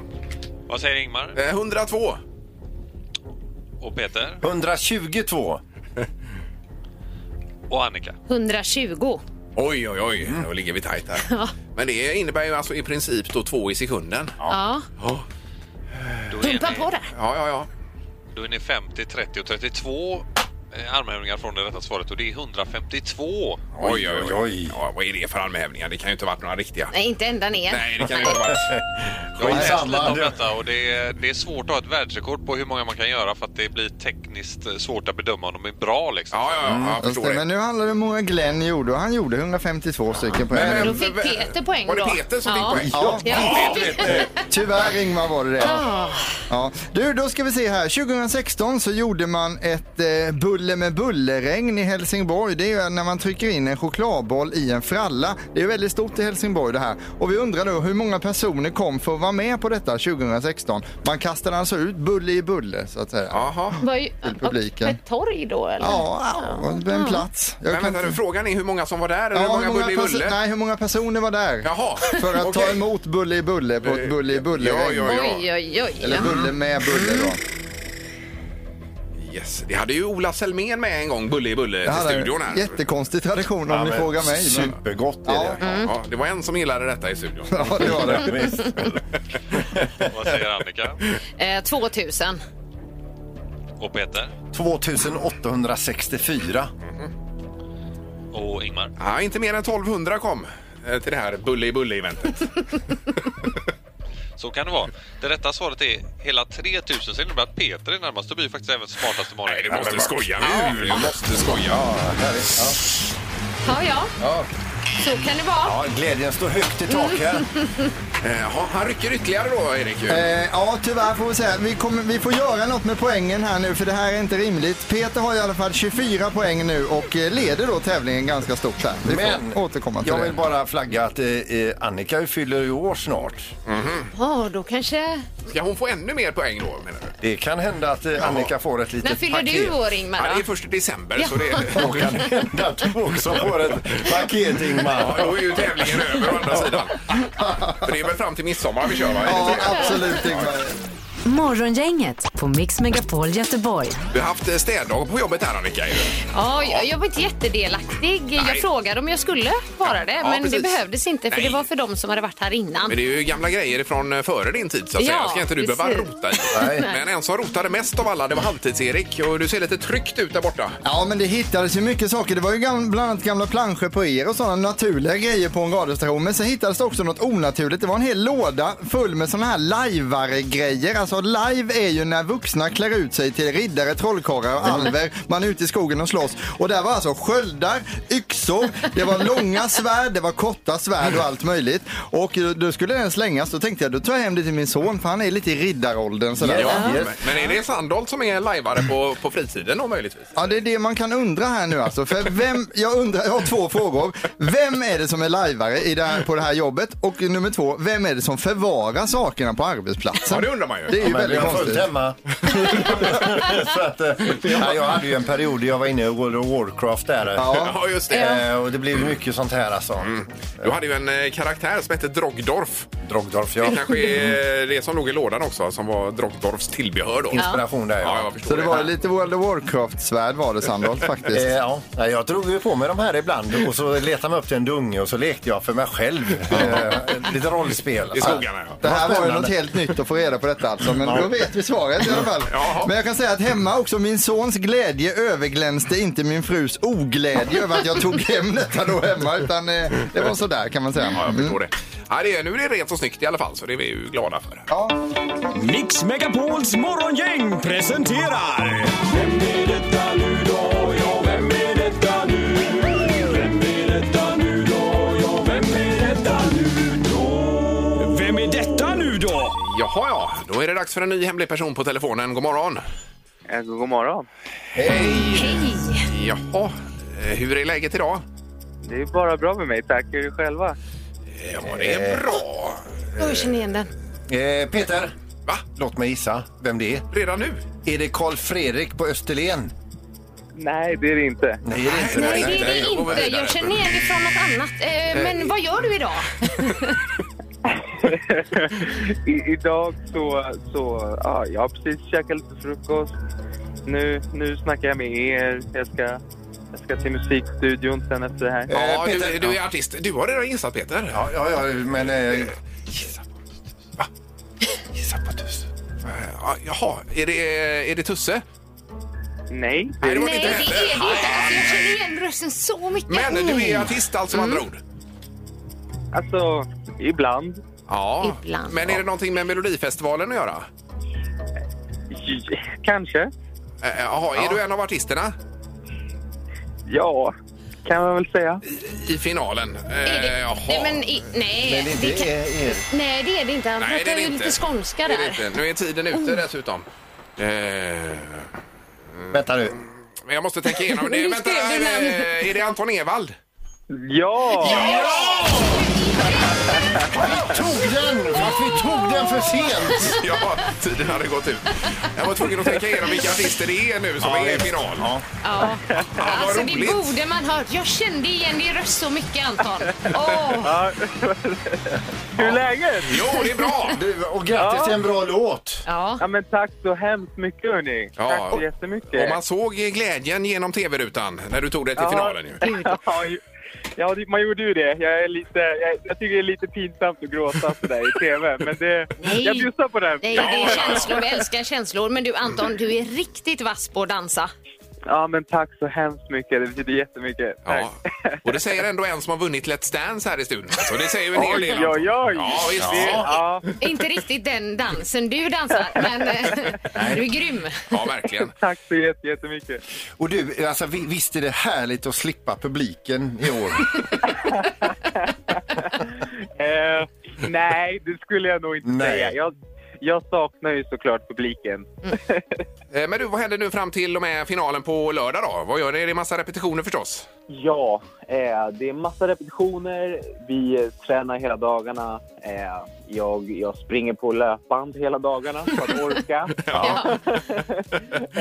[SPEAKER 9] Vad säger Ingmar
[SPEAKER 3] Eh, 102.
[SPEAKER 9] och Peter
[SPEAKER 5] 122.
[SPEAKER 9] och Annika?
[SPEAKER 4] 120.
[SPEAKER 3] Oj, oj, oj.
[SPEAKER 6] Mm.
[SPEAKER 3] Då ligger vi tajt
[SPEAKER 6] [LAUGHS]
[SPEAKER 3] här. Men det innebär ju alltså i princip då två i sekunden. Ja,
[SPEAKER 4] Ja.
[SPEAKER 9] Då är
[SPEAKER 4] Pumpa
[SPEAKER 9] ni,
[SPEAKER 4] på det.
[SPEAKER 3] ja, ja.
[SPEAKER 9] Då är ni 50, 30 och 32 eh, armhävningar från det rätta svaret och det är 152.
[SPEAKER 3] Oj, oj, oj.
[SPEAKER 5] Oj, oj.
[SPEAKER 3] Ja, vad är det för armhävningar? Det kan ju inte ha varit några riktiga.
[SPEAKER 4] Nej, inte ända ner.
[SPEAKER 3] Nej, det kan ju
[SPEAKER 6] [LAUGHS]
[SPEAKER 3] inte ha varit.
[SPEAKER 9] Jag har läst
[SPEAKER 5] Skitsamma,
[SPEAKER 9] lite om
[SPEAKER 5] du.
[SPEAKER 9] detta och det är, det är svårt att ha ett världsrekord på hur många man kan göra för att det blir tekniskt eh, svårt att bedöma om de är bra liksom.
[SPEAKER 3] Ja, ja, ja. Jag
[SPEAKER 6] Mm, Just
[SPEAKER 3] förstår
[SPEAKER 6] det,
[SPEAKER 3] Mm, det.
[SPEAKER 6] men nu handlar det om hur många Glenn gjorde och han gjorde 152 stycken på en
[SPEAKER 3] Men-
[SPEAKER 4] Då
[SPEAKER 6] minut.
[SPEAKER 4] fick Peter poäng
[SPEAKER 3] Var det
[SPEAKER 4] då.
[SPEAKER 3] Peter som fick
[SPEAKER 4] Ja.
[SPEAKER 3] poäng?
[SPEAKER 6] Ja.
[SPEAKER 4] Ja.
[SPEAKER 9] Eh,
[SPEAKER 6] Tyvärr Ingmar var det det. Ja. Du, då ska vi se här. 2016 så gjorde man ett eh, bulle med bulleregn i Helsingborg. Det är ju när man trycker in en chokladboll i en fralla. Det är ju väldigt stort i Helsingborg det här. Och vi undrar då hur många personer kom för att vara med på detta 2016. Man kastade alltså ut bulle i bulle så att säga. Ja,
[SPEAKER 3] Jaha.
[SPEAKER 4] Var ju,
[SPEAKER 6] Till publiken.
[SPEAKER 4] Ett torg då eller?
[SPEAKER 6] ja, en plats. Jag
[SPEAKER 3] Men
[SPEAKER 6] kan
[SPEAKER 3] vänta nu,
[SPEAKER 6] inte-
[SPEAKER 3] frågan är hur många som var där eller
[SPEAKER 6] Ja,
[SPEAKER 3] hur många bulle i
[SPEAKER 6] perso-
[SPEAKER 3] bulle?
[SPEAKER 6] Nej, hur många personer var där?
[SPEAKER 3] Jaha.
[SPEAKER 6] [LAUGHS] För att ta
[SPEAKER 3] okej. Eh,
[SPEAKER 6] emot bulle i bulle på ett bulle i bulle
[SPEAKER 3] Ja, ja, ja.
[SPEAKER 4] Oj, oj, oj.
[SPEAKER 6] Eller bulle med bulle då.
[SPEAKER 3] Yes. Det hade ju Ola Selmén med en gång, Bulle i Bulle,
[SPEAKER 6] Det
[SPEAKER 3] till
[SPEAKER 6] hade-
[SPEAKER 3] studion här.
[SPEAKER 6] Jättekonstig tradition om ni
[SPEAKER 5] men
[SPEAKER 6] frågar mig. Men...
[SPEAKER 5] Supergott är det.
[SPEAKER 6] Mm.
[SPEAKER 3] Ja, det var en som gillade detta i studion.
[SPEAKER 6] Ja, det var det.
[SPEAKER 5] Visst.
[SPEAKER 9] Vad säger Annika
[SPEAKER 4] Eh, 2000.
[SPEAKER 9] och Peter
[SPEAKER 5] 2864.
[SPEAKER 9] och Ingmar?
[SPEAKER 3] Ja, inte mer än 1200 kom eh, till det här Bulle i Bulle-eventet.
[SPEAKER 9] Så kan det vara. Det rätta svaret är hela 3000 så innebär att Peter är närmast. Då blir ju faktiskt även smartaste morgon.
[SPEAKER 3] Nej, du måste skoja nu! Du måste skoja.
[SPEAKER 5] Ja, härligt. Ja.
[SPEAKER 4] Ja, ja. Så kan det vara.
[SPEAKER 5] ja, glädjen står högt i tak här.
[SPEAKER 3] Eh, ja, han rycker ytterligare då, Erik. ju.
[SPEAKER 6] Eh, ja, tyvärr får vi säga. Vi, kommer, vi får göra något med poängen här nu för det här är inte rimligt. Peter har i alla fall 24 poäng nu och eh, leder då tävlingen ganska stort här. Vi får
[SPEAKER 5] Men
[SPEAKER 4] Mm.
[SPEAKER 6] återkomma till
[SPEAKER 5] jag vill
[SPEAKER 6] det.
[SPEAKER 5] bara flagga att eh, eh, Annika fyller ju år snart.
[SPEAKER 4] [LAUGHS] Ja, då kanske...
[SPEAKER 3] Mhm. Ska hon få ännu mer poäng då, menar du?
[SPEAKER 5] Det kan hända att eh, Annika får ett litet
[SPEAKER 4] När fyller
[SPEAKER 5] paket.
[SPEAKER 4] du år, Ingmar?
[SPEAKER 3] Ja, det är
[SPEAKER 4] då?
[SPEAKER 3] först i december, så det är...
[SPEAKER 5] Det kan hända att du också får ett paket, Ingmar.
[SPEAKER 3] Ja, då är ju tävlingen över å andra sidan. För det är väl fram till midsommar vi kör, va?
[SPEAKER 6] Ja, absolut Ingmar.
[SPEAKER 2] Morgongänget på Mix Megapol Göteborg.
[SPEAKER 3] Du har haft eh, städdag på jobbet här, Annika. ju.
[SPEAKER 4] Ja, jag, jag var inte jättedelaktig. Jag frågade om jag skulle vara det, men
[SPEAKER 3] precis.
[SPEAKER 4] det behövdes inte för
[SPEAKER 3] Nej.
[SPEAKER 4] det var för dem som hade varit här innan.
[SPEAKER 3] Men det är ju gamla grejer från eh, före din tid, så att
[SPEAKER 4] Ja,
[SPEAKER 3] säga. ska inte du behöva
[SPEAKER 4] precis.
[SPEAKER 3] rota i.
[SPEAKER 5] Nej.
[SPEAKER 3] Men en som rotade mest av alla, det var Halvtids-Erik. Och du ser lite tryckt ut där borta.
[SPEAKER 6] Ja, men det hittades ju mycket saker. Det var ju gam- bland annat gamla planscher på er och sådana naturliga grejer på en radiostation. Men sen hittades det också något onaturligt. Det var en hel låda full med sådana här lajvare-grejer. Alltså live är ju när vuxna klär ut sig till riddare, trollkarlar och alver. Man är ute i skogen och slåss. Och där var alltså sköldar, yxor, det var långa svärd, det var korta svärd och allt möjligt. Och eh, då skulle den slängas. Då tänkte jag, då tar jag hem det till min son för han är lite i riddaråldern sådär.
[SPEAKER 3] Men- Men är det Sandholt som är lajvare på, på fritiden då möjligtvis?
[SPEAKER 6] Ja, det är det man kan undra här nu alltså. För vem, jag, undrar, jag har två frågor. Vem är det som är lajvare i det här, på det här jobbet? Och nummer två, vem är det som förvarar sakerna på arbetsplatsen?
[SPEAKER 3] Ja, det undrar man ju.
[SPEAKER 6] Det är ju
[SPEAKER 5] Men vi
[SPEAKER 6] väldigt
[SPEAKER 5] har fullt
[SPEAKER 6] konstigt.
[SPEAKER 5] hemma.
[SPEAKER 3] [LAUGHS]
[SPEAKER 5] så att, eh, ja, jag hade ju en period där jag var inne och World of Warcraft där.
[SPEAKER 6] Ja.
[SPEAKER 3] Ja, just det. Mm.
[SPEAKER 5] Eh, Och det blev ju mycket sånt här alltså.
[SPEAKER 3] Du hade ju en eh, karaktär som hette Drogdorf.
[SPEAKER 5] Drogdorf, ja.
[SPEAKER 3] Det kanske är det som låg i lådan också, som var Drogdorfs tillbehör då.
[SPEAKER 5] Inspiration där
[SPEAKER 3] Ja,
[SPEAKER 5] ja.
[SPEAKER 3] jag förstår
[SPEAKER 6] Så det var
[SPEAKER 3] det.
[SPEAKER 6] lite World of Warcraft-svärd var det Sandholt
[SPEAKER 5] Eh,
[SPEAKER 6] faktiskt.
[SPEAKER 5] Ja, Nej, jag drog ju på mig de här ibland och så letade jag upp till en dunge och så lekte jag för mig själv. Eh, Lite rollspel.
[SPEAKER 3] I skogarna, ja.
[SPEAKER 6] Det här var ju
[SPEAKER 5] Spännande.
[SPEAKER 6] något helt nytt att få reda på detta alltså, men då vet vi svaret i alla fall.
[SPEAKER 3] Ja.
[SPEAKER 6] Men jag kan säga att hemma också, min sons glädje överglänste inte min frus oglädje över att jag tog hem detta då hemma, utan eh, det var sådär kan man säga.
[SPEAKER 3] Ja, jag förstår det. Ja, det är, nu är det rent och snyggt i alla fall, så det är vi ju glada för.
[SPEAKER 6] Ja.
[SPEAKER 10] Mix Megapols morgongäng presenterar... Vem är detta nu då? Ja, vem är detta nu? Vem är detta nu då? Ja, vem är detta nu då? Vem är detta nu då?
[SPEAKER 3] Jaha, ja. Då är det dags för en ny hemlig person på telefonen. God morgon.
[SPEAKER 11] Eh, God morgon.
[SPEAKER 4] Hej!
[SPEAKER 3] Jaha, eh, hur är läget idag?
[SPEAKER 11] Det är bara bra med mig. Tack. Hur är det själva?
[SPEAKER 3] Ja, det är bra.
[SPEAKER 4] Jag känner igen den.
[SPEAKER 5] Eh, Peter,
[SPEAKER 3] Va?
[SPEAKER 5] låt mig gissa vem det är.
[SPEAKER 3] Redan nu?
[SPEAKER 5] Är det Karl Fredrik på Österlen?
[SPEAKER 11] Nej, det är det inte.
[SPEAKER 5] Nej, det är inte.
[SPEAKER 4] Nej, det är
[SPEAKER 3] nej, jag går
[SPEAKER 4] det inte.
[SPEAKER 3] vidare.
[SPEAKER 4] Jag känner igen det från något annat. Eh, men vad gör du idag?
[SPEAKER 11] [LAUGHS] I, idag så... så ja, jag har precis käkat lite frukost. Nu, nu snackar jag med er. Jag ska, jag ska till musikstudion sen efter det här.
[SPEAKER 3] Ja,
[SPEAKER 5] Eh, Peter.
[SPEAKER 3] du, du är artist. Du har redan gissat, Peter.
[SPEAKER 5] Ja, ja, ja, men... Eh,
[SPEAKER 3] Gissa på tusen. Va? Gissa på tusen. Ja, Jaha, är det, är det Tusse?
[SPEAKER 11] Nej.
[SPEAKER 3] Nej, det var
[SPEAKER 4] Nej,
[SPEAKER 3] det
[SPEAKER 4] det
[SPEAKER 3] inte
[SPEAKER 4] är det
[SPEAKER 3] heller.
[SPEAKER 4] inte. Alltså, jag känner igen rösten så mycket. Mm.
[SPEAKER 3] Men du är artist alltså med andra ord?
[SPEAKER 11] Mm. Alltså, ibland.
[SPEAKER 3] Ja.
[SPEAKER 4] Ibland,
[SPEAKER 3] Men är det någonting med Melodifestivalen att göra?
[SPEAKER 11] Kanske.
[SPEAKER 3] Eh, Jaha, är du en av artisterna
[SPEAKER 11] Ja, kan man väl säga.
[SPEAKER 3] i finalen? Eh,
[SPEAKER 4] Är det,
[SPEAKER 3] jaha.
[SPEAKER 4] nej, men, i, nej,
[SPEAKER 5] men
[SPEAKER 4] det
[SPEAKER 5] det
[SPEAKER 4] kan,
[SPEAKER 5] är er.
[SPEAKER 4] nej, det är det inte. Han
[SPEAKER 3] Nej, det
[SPEAKER 4] pratar
[SPEAKER 3] är det
[SPEAKER 4] ju
[SPEAKER 3] inte.
[SPEAKER 4] lite skånska
[SPEAKER 3] Det är det
[SPEAKER 4] där. Mm.
[SPEAKER 3] inte. Nu är tiden ute dessutom. Eh, men
[SPEAKER 5] Vänta nu.
[SPEAKER 3] jag måste
[SPEAKER 4] [LAUGHS]
[SPEAKER 3] tänka igenom. Det,
[SPEAKER 4] Nu
[SPEAKER 3] vänta,
[SPEAKER 4] skrev du namn.
[SPEAKER 3] eh, är det Anton Ewald?
[SPEAKER 11] Ja!
[SPEAKER 5] Tog den! Fast vi tog den för sent!
[SPEAKER 3] Ja, tiden hade gått ut. Jag var tvungen att tänka igenom vilka artister det är nu som är i final. Ja.
[SPEAKER 4] Ja.
[SPEAKER 3] vad
[SPEAKER 4] Alltså, det
[SPEAKER 3] roligt.
[SPEAKER 4] borde man hört. Jag kände igen din röst så mycket,
[SPEAKER 3] [LAUGHS]
[SPEAKER 4] Anton. Åh,
[SPEAKER 11] Hur är läget?
[SPEAKER 3] Jo, det är bra!
[SPEAKER 5] Du, och grattis till en bra låt!
[SPEAKER 4] ja.
[SPEAKER 11] Ja, men tack så hemskt mycket, hörni.
[SPEAKER 3] Ja.
[SPEAKER 11] Tack så
[SPEAKER 3] Och
[SPEAKER 11] jättemycket.
[SPEAKER 3] man såg glädjen genom tv-rutan när du tog dig till
[SPEAKER 11] Ja.
[SPEAKER 3] finalen. Ju.
[SPEAKER 11] Ja, ju- Ja, det- man gjorde ju det. Jag, är lite, jag, jag tycker det är lite pinsamt att gråta sådär i tv, men det,
[SPEAKER 4] Nej.
[SPEAKER 11] jag bjussar på den.
[SPEAKER 4] Nej, det är känslor. Jag älskar känslor. Men du, Anton, du är riktigt vass på att dansa.
[SPEAKER 11] Ja, men tack så hemskt mycket. Det betyder jättemycket.
[SPEAKER 3] Ja.
[SPEAKER 11] Tack.
[SPEAKER 3] Och det säger ändå en som har vunnit Let's Dance här i studion. Så det säger ju en hel
[SPEAKER 11] Oj,
[SPEAKER 3] del. alltså.
[SPEAKER 11] oj, oj!
[SPEAKER 3] Ja, visst.
[SPEAKER 11] Det, ja.
[SPEAKER 4] Inte riktigt den dansen du dansar, men eh, du är grym.
[SPEAKER 3] Ja, verkligen.
[SPEAKER 11] Tack så jätte- jättemycket.
[SPEAKER 5] Och du, alltså, vi- visst är det härligt att slippa publiken i år?
[SPEAKER 11] Eh, nej, det skulle jag nog inte
[SPEAKER 5] Nej.
[SPEAKER 11] säga. Jag, jag saknar ju såklart publiken.
[SPEAKER 3] Eh, Men du, vad händer nu fram till och med finalen på lördag då? Vad gör ni? Är det massa repetitioner förstås?
[SPEAKER 11] Ja, eh, det är massa repetitioner. Vi eh, tränar hela dagarna. Eh, jag, jag springer på löpband hela dagarna för att orka.
[SPEAKER 3] [LAUGHS]
[SPEAKER 4] Ja.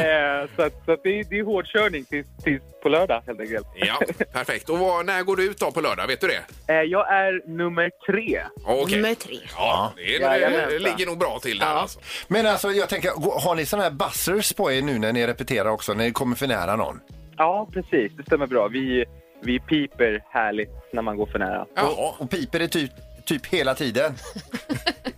[SPEAKER 11] eh, så att, så att det, är, det är hårdkörning tills, tills på lördag, helt enkelt.
[SPEAKER 3] Ja, perfekt. Och vad, när går du ut då på lördag? Vet du det?
[SPEAKER 11] Eh, jag är nummer tre.
[SPEAKER 3] Okej.
[SPEAKER 4] Nummer tre.
[SPEAKER 3] Ja, det, är, det
[SPEAKER 11] Jajamensan.
[SPEAKER 3] ligger nog bra till där alltså.
[SPEAKER 5] Men alltså, jag tänker, gå- har ni såna här buzzers på er nu när ni repeterar också, när ni kommer för nära någon?
[SPEAKER 11] Ja, precis. Det stämmer bra. Vi, vi piper härligt när man går för nära.
[SPEAKER 3] Jaha.
[SPEAKER 5] Och piper det typ, typ hela
[SPEAKER 3] [LAUGHS]
[SPEAKER 5] tiden?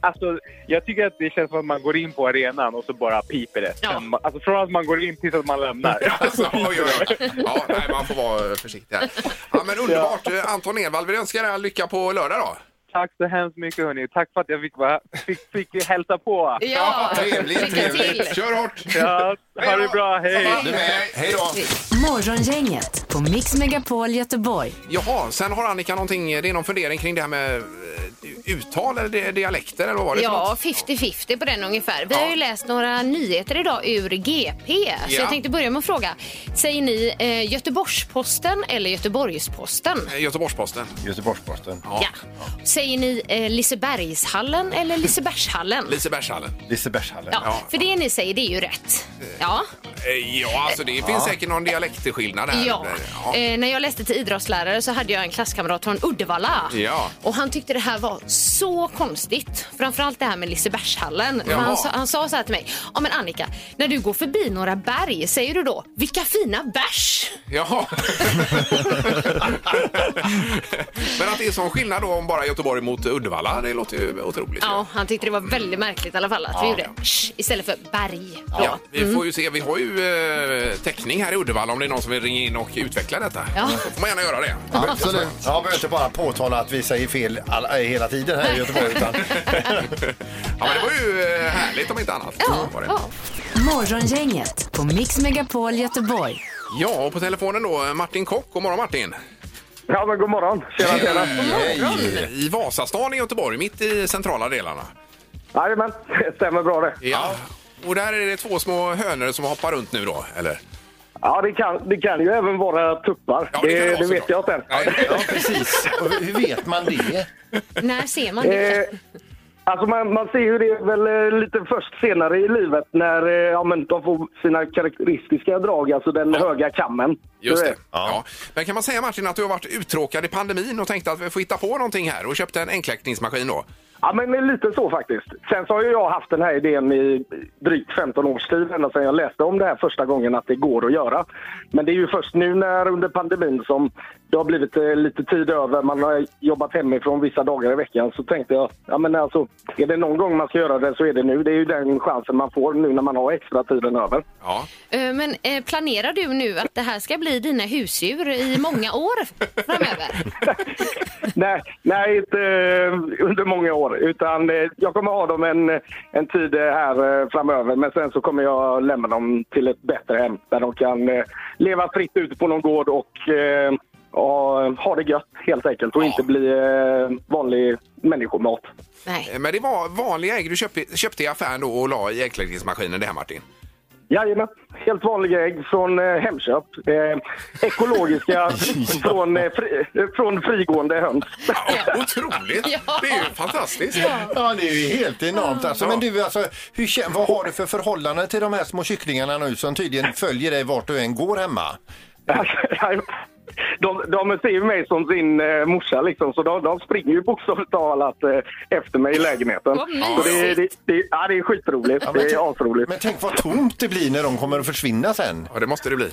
[SPEAKER 11] Alltså, jag tycker att det känns som att man går in på arenan och så bara piper det.
[SPEAKER 4] Ja.
[SPEAKER 11] Sen- Alltså, från att man går in tills att man lämnar.
[SPEAKER 3] Alltså, oj, oj, oj. Ja, nej, man får vara försiktig här. Ja, men underbart. Eh, Anton Edvall, vi önskar dig all lycka på lördag då.
[SPEAKER 11] Tack så hemskt mycket hörni. Tack för att jag fick, vara, fick, fick hälsa på.
[SPEAKER 4] Ja,
[SPEAKER 5] trevligt,
[SPEAKER 4] lycka
[SPEAKER 5] trevligt.
[SPEAKER 4] till.
[SPEAKER 3] Kör hårt!
[SPEAKER 11] Ja, ha det bra, hej!
[SPEAKER 5] Du med? Hej då!
[SPEAKER 2] Morgongänget på Mix Megapol Göteborg.
[SPEAKER 3] Jaha, sen har Annika någonting, det är någon fundering kring det här med eh, uttal eller di- dialekter eller vad var det för
[SPEAKER 4] Ja,
[SPEAKER 3] något?
[SPEAKER 4] 50-50 på den ungefär. Vi har ju läst några nyheter idag ur GP. Så
[SPEAKER 3] Ja.
[SPEAKER 4] jag tänkte börja med att fråga. Säger ni eh, Göteborgsposten eller Göteborgsposten?
[SPEAKER 3] Eh, Göteborgs-Posten.
[SPEAKER 5] Göteborgs-Posten.
[SPEAKER 4] Ja. Säger ni eh, Lisebergshallen eller Lisebergshallen?
[SPEAKER 3] Lisebergshallen.
[SPEAKER 5] Lisebergshallen.
[SPEAKER 4] Ja,
[SPEAKER 3] Ja.
[SPEAKER 4] för det ni säger det är ju rätt. Ja.
[SPEAKER 3] Eh, Ja, alltså det finns säkert någon dialektskillnad där.
[SPEAKER 4] Ja. Eh, när jag läste till idrottslärare så hade jag en klasskamrat från Uddevalla.
[SPEAKER 3] Ja.
[SPEAKER 4] Och han tyckte det här var så konstigt. Framförallt det här med Lisebergshallen. För
[SPEAKER 3] Jaha.
[SPEAKER 4] Han, sa- han sa så här till mig. Ja men Annika, när du går förbi några berg, säger du då vilka fina bärs?
[SPEAKER 5] [LAUGHS]
[SPEAKER 3] Jaha. Men att det är sån skillnad då om bara Göteborg mot Uddevalla, det låter ju otroligt. ju.
[SPEAKER 4] Ja, Mm. han tyckte det var väldigt märkligt i alla fall att vi gjorde sh istället för berg. Då.
[SPEAKER 3] Ja, vi får ju se. Vi har ju ju eh, täckning här i Uddevalla om det är någon som vill ringa in och utveckla detta.
[SPEAKER 4] Ja.
[SPEAKER 3] Så får man gärna göra det.
[SPEAKER 5] Absolut. Jag behöver inte bara påtala att vi säger fel all, eh, hela tiden här i Göteborg. Utan,
[SPEAKER 3] [LAUGHS] Ja, men det var ju eh, härligt om inte annat.
[SPEAKER 4] Ja,
[SPEAKER 3] Var det.
[SPEAKER 4] ja.
[SPEAKER 2] Morgongänget på Mix Megapol Göteborg.
[SPEAKER 3] ja, och på telefonen då Martin Kock. God morgon Martin!
[SPEAKER 1] Ja, men god morgon. Tjena, tjena.
[SPEAKER 5] hej!
[SPEAKER 3] I Vasastan i Göteborg, mitt i centrala delarna.
[SPEAKER 1] Jajamän, det stämmer bra det.
[SPEAKER 3] Ja. Och där är det två små hönor som hoppar runt nu då, eller?
[SPEAKER 1] Ja, det kan, det kan ju även vara tuppar.
[SPEAKER 3] Ja,
[SPEAKER 1] det
[SPEAKER 3] kan
[SPEAKER 1] det,
[SPEAKER 3] vara
[SPEAKER 1] vet jag
[SPEAKER 3] såklart.
[SPEAKER 1] sen.
[SPEAKER 3] Nej,
[SPEAKER 5] Ja, precis. Och hur vet man det?
[SPEAKER 4] När ser man
[SPEAKER 1] Eh,
[SPEAKER 4] det?
[SPEAKER 1] alltså man, man ser ju det väl eh, lite först senare i livet när eh, ja, men de får sina karaktäristiska drag, alltså den höga kammen.
[SPEAKER 3] Just
[SPEAKER 1] Du
[SPEAKER 3] det.
[SPEAKER 1] vet.
[SPEAKER 3] Ja. Men kan man säga Martin att du har varit uttråkad i pandemin och tänkte att vi får hitta på någonting här och köpte en enkläckningsmaskin då?
[SPEAKER 1] Ja, men det är lite så faktiskt. Sen så har ju jag haft den här idén i drygt 15 års tid, ända sedan jag läste om det här första gången, att det går att göra. Men det är ju först nu när under pandemin som det har blivit eh, lite tid över, man har jobbat hemifrån vissa dagar i veckan, så tänkte jag, ja men alltså, är det någon gång man ska göra det så är det nu. Det är ju den chansen man får nu när man har extra tiden över.
[SPEAKER 3] Ja.
[SPEAKER 4] Eh, Men eh, planerar du nu att det här ska bli dina husdjur i många år framöver?
[SPEAKER 1] nej, nej, inte eh, under många år. Utan eh, jag kommer ha dem en, en tid eh, här eh, framöver. Men sen så kommer jag lämna dem till ett bättre hem där de kan eh, leva fritt ute på någon gård och eh, ha, ha det gött helt enkelt och inte bli eh, vanlig människomat.
[SPEAKER 4] Nej.
[SPEAKER 3] Eh, Men det var vanliga ägg du köpte, köpte i affären då och la i enkläckningsmaskinen det här Martin?
[SPEAKER 1] Jajamän, helt vanliga ägg från eh, Hemköp. Eh,
[SPEAKER 3] [LAUGHS]
[SPEAKER 1] ekologiska från, eh, fri, eh, från frigående höns.
[SPEAKER 3] Ja, otroligt!
[SPEAKER 4] Ja.
[SPEAKER 3] Det är ju fantastiskt.
[SPEAKER 5] Ja, det är ju helt enormt. Alltså, men du, alltså, hur, kä- vad har du för förhållande till de här små kycklingarna nu som tydligen följer dig vart du än går hemma?
[SPEAKER 1] De, de ser ju mig som sin eh, morsa, liksom, så de, de springer ju bokstavligt talat eh, efter mig i lägenheten.
[SPEAKER 4] Vad
[SPEAKER 1] Så det, det,
[SPEAKER 4] mysigt!
[SPEAKER 1] det, ja, det är skitroligt.
[SPEAKER 5] Ja, men
[SPEAKER 1] det
[SPEAKER 5] tänk-
[SPEAKER 1] är asroligt.
[SPEAKER 5] Men tänk vad tomt det blir när de kommer att försvinna sen.
[SPEAKER 3] Ja, det måste det bli.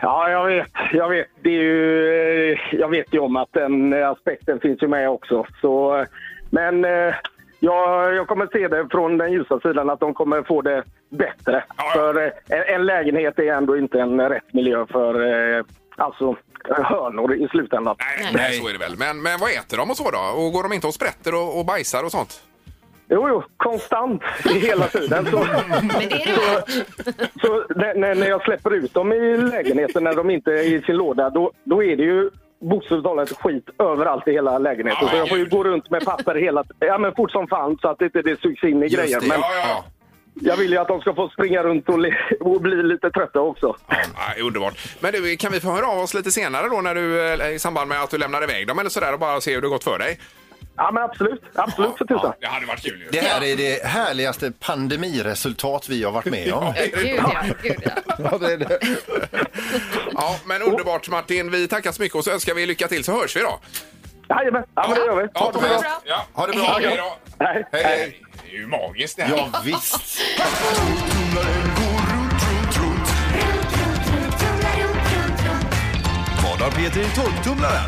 [SPEAKER 1] Ja, jag vet. Jag vet, det är ju, eh, jag vet ju om att den eh, aspekten finns ju med också. Så, eh, men eh, jag, jag kommer se det från den ljusa sidan, att de kommer få det bättre.
[SPEAKER 3] ja.
[SPEAKER 1] För eh, en, en lägenhet är ändå inte en rätt miljö för eh, alltså, hönor i slutändan.
[SPEAKER 3] Nej, nej, nej, så är det väl. Men, men vad äter de och så då? Och går de inte och sprätter och, och bajsar och sånt?
[SPEAKER 1] Jo, jo, konstant hela tiden. Så,
[SPEAKER 4] Men det är det väl?
[SPEAKER 1] så när, när- när jag släpper ut dem i lägenheten, när de inte är i sin låda, då, då är det ju bokstavligt talat skit överallt i hela lägenheten.
[SPEAKER 3] Ja,
[SPEAKER 1] så jag får ju
[SPEAKER 3] herregud.
[SPEAKER 1] gå runt med papper hela ja, men fort som fan så att inte det sugs in i grejer.
[SPEAKER 5] det,
[SPEAKER 1] Men
[SPEAKER 3] Ja, ja.
[SPEAKER 1] jag vill ju att de ska få springa runt och, le- och bli lite trötta också.
[SPEAKER 3] Ja, det är underbart. Men du, kan vi få höra av oss lite senare då när du, eh, i samband med att du lämnar iväg dem eller sådär och bara se hur det gått för dig?
[SPEAKER 1] Ja, men absolut. Absolut, för tusan.
[SPEAKER 3] det hade varit kul ju.
[SPEAKER 5] Det här är det härligaste pandemiresultat vi har varit med om.
[SPEAKER 4] Gud ja, gud ja.
[SPEAKER 6] Ja, det är det.
[SPEAKER 3] Ja, men underbart Martin. Vi tackar så mycket och så önskar vi lycka till så hörs vi då.
[SPEAKER 1] Jajamän, ja, men det gör vi.
[SPEAKER 3] Ja,
[SPEAKER 5] det bra.
[SPEAKER 3] bra. Ja.
[SPEAKER 5] Ha det bra.
[SPEAKER 3] Hej då.
[SPEAKER 1] Hej.
[SPEAKER 3] Hej, hej. Det är ju magiskt det här.
[SPEAKER 5] Ja, visst.
[SPEAKER 10] Vad har Peter i tolvtumlaren?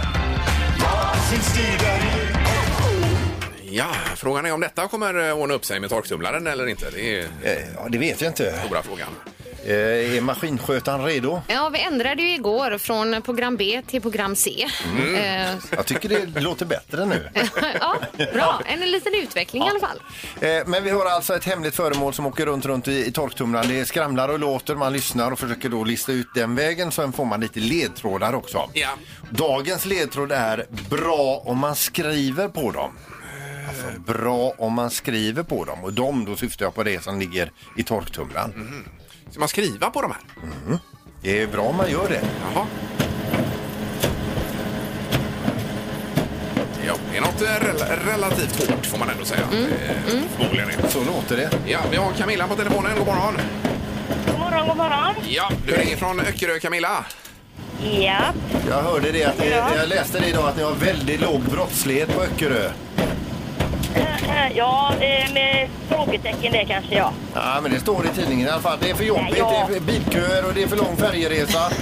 [SPEAKER 3] Ja, frågan är om detta kommer eh, ordna upp sig med torktumlaren eller inte. Det är den
[SPEAKER 5] Eh, Ja, det vet jag inte.
[SPEAKER 3] stora frågan.
[SPEAKER 5] Eh, Är maskinskötaren redo?
[SPEAKER 4] Ja, vi ändrade ju igår från program B till program C.
[SPEAKER 5] Mm.
[SPEAKER 4] Eh,
[SPEAKER 5] Jag tycker det låter bättre nu.
[SPEAKER 4] ja, bra. En liten utveckling i alla fall.
[SPEAKER 5] Eh, Men vi har alltså ett hemligt föremål som åker runt runt i, i torktumlaren. Det skramlar och låter, man lyssnar och försöker då lista ut den vägen. Sen får man lite ledtrådar också.
[SPEAKER 3] Ja.
[SPEAKER 5] Dagens ledtråd är bra om man skriver på dem. Alltså bra om man skriver på dem. Och dem, då syftar jag på det som ligger i torktumlaren.
[SPEAKER 3] Mhm.
[SPEAKER 5] Mhm.
[SPEAKER 3] Ska man skriva på de här?
[SPEAKER 5] Det är bra om man gör det.
[SPEAKER 3] Jaha. Ja, det är något eh, rel- relativt hårt får man ändå säga. Eh, Förmodligen är det.
[SPEAKER 5] Så låter det.
[SPEAKER 3] Ja, vi har Camilla på telefonen. God morgon!
[SPEAKER 7] God morgon, god morgon.
[SPEAKER 3] Ja, du ringer från Öckerö, Camilla.
[SPEAKER 7] Ja.
[SPEAKER 5] Jag hörde det att ni,
[SPEAKER 7] Ja.
[SPEAKER 5] jag läste det idag att ni har väldigt låg brottslighet på Öckerö.
[SPEAKER 7] Eh, Eh, Ja, eh, med frågetecken det kanske ja.
[SPEAKER 5] Ja, men det står i tidningen i alla fall. Det är för jobbigt,
[SPEAKER 7] Nej, ja.
[SPEAKER 5] det är bilköer och det är för
[SPEAKER 4] [LAUGHS]
[SPEAKER 5] lång färjeresa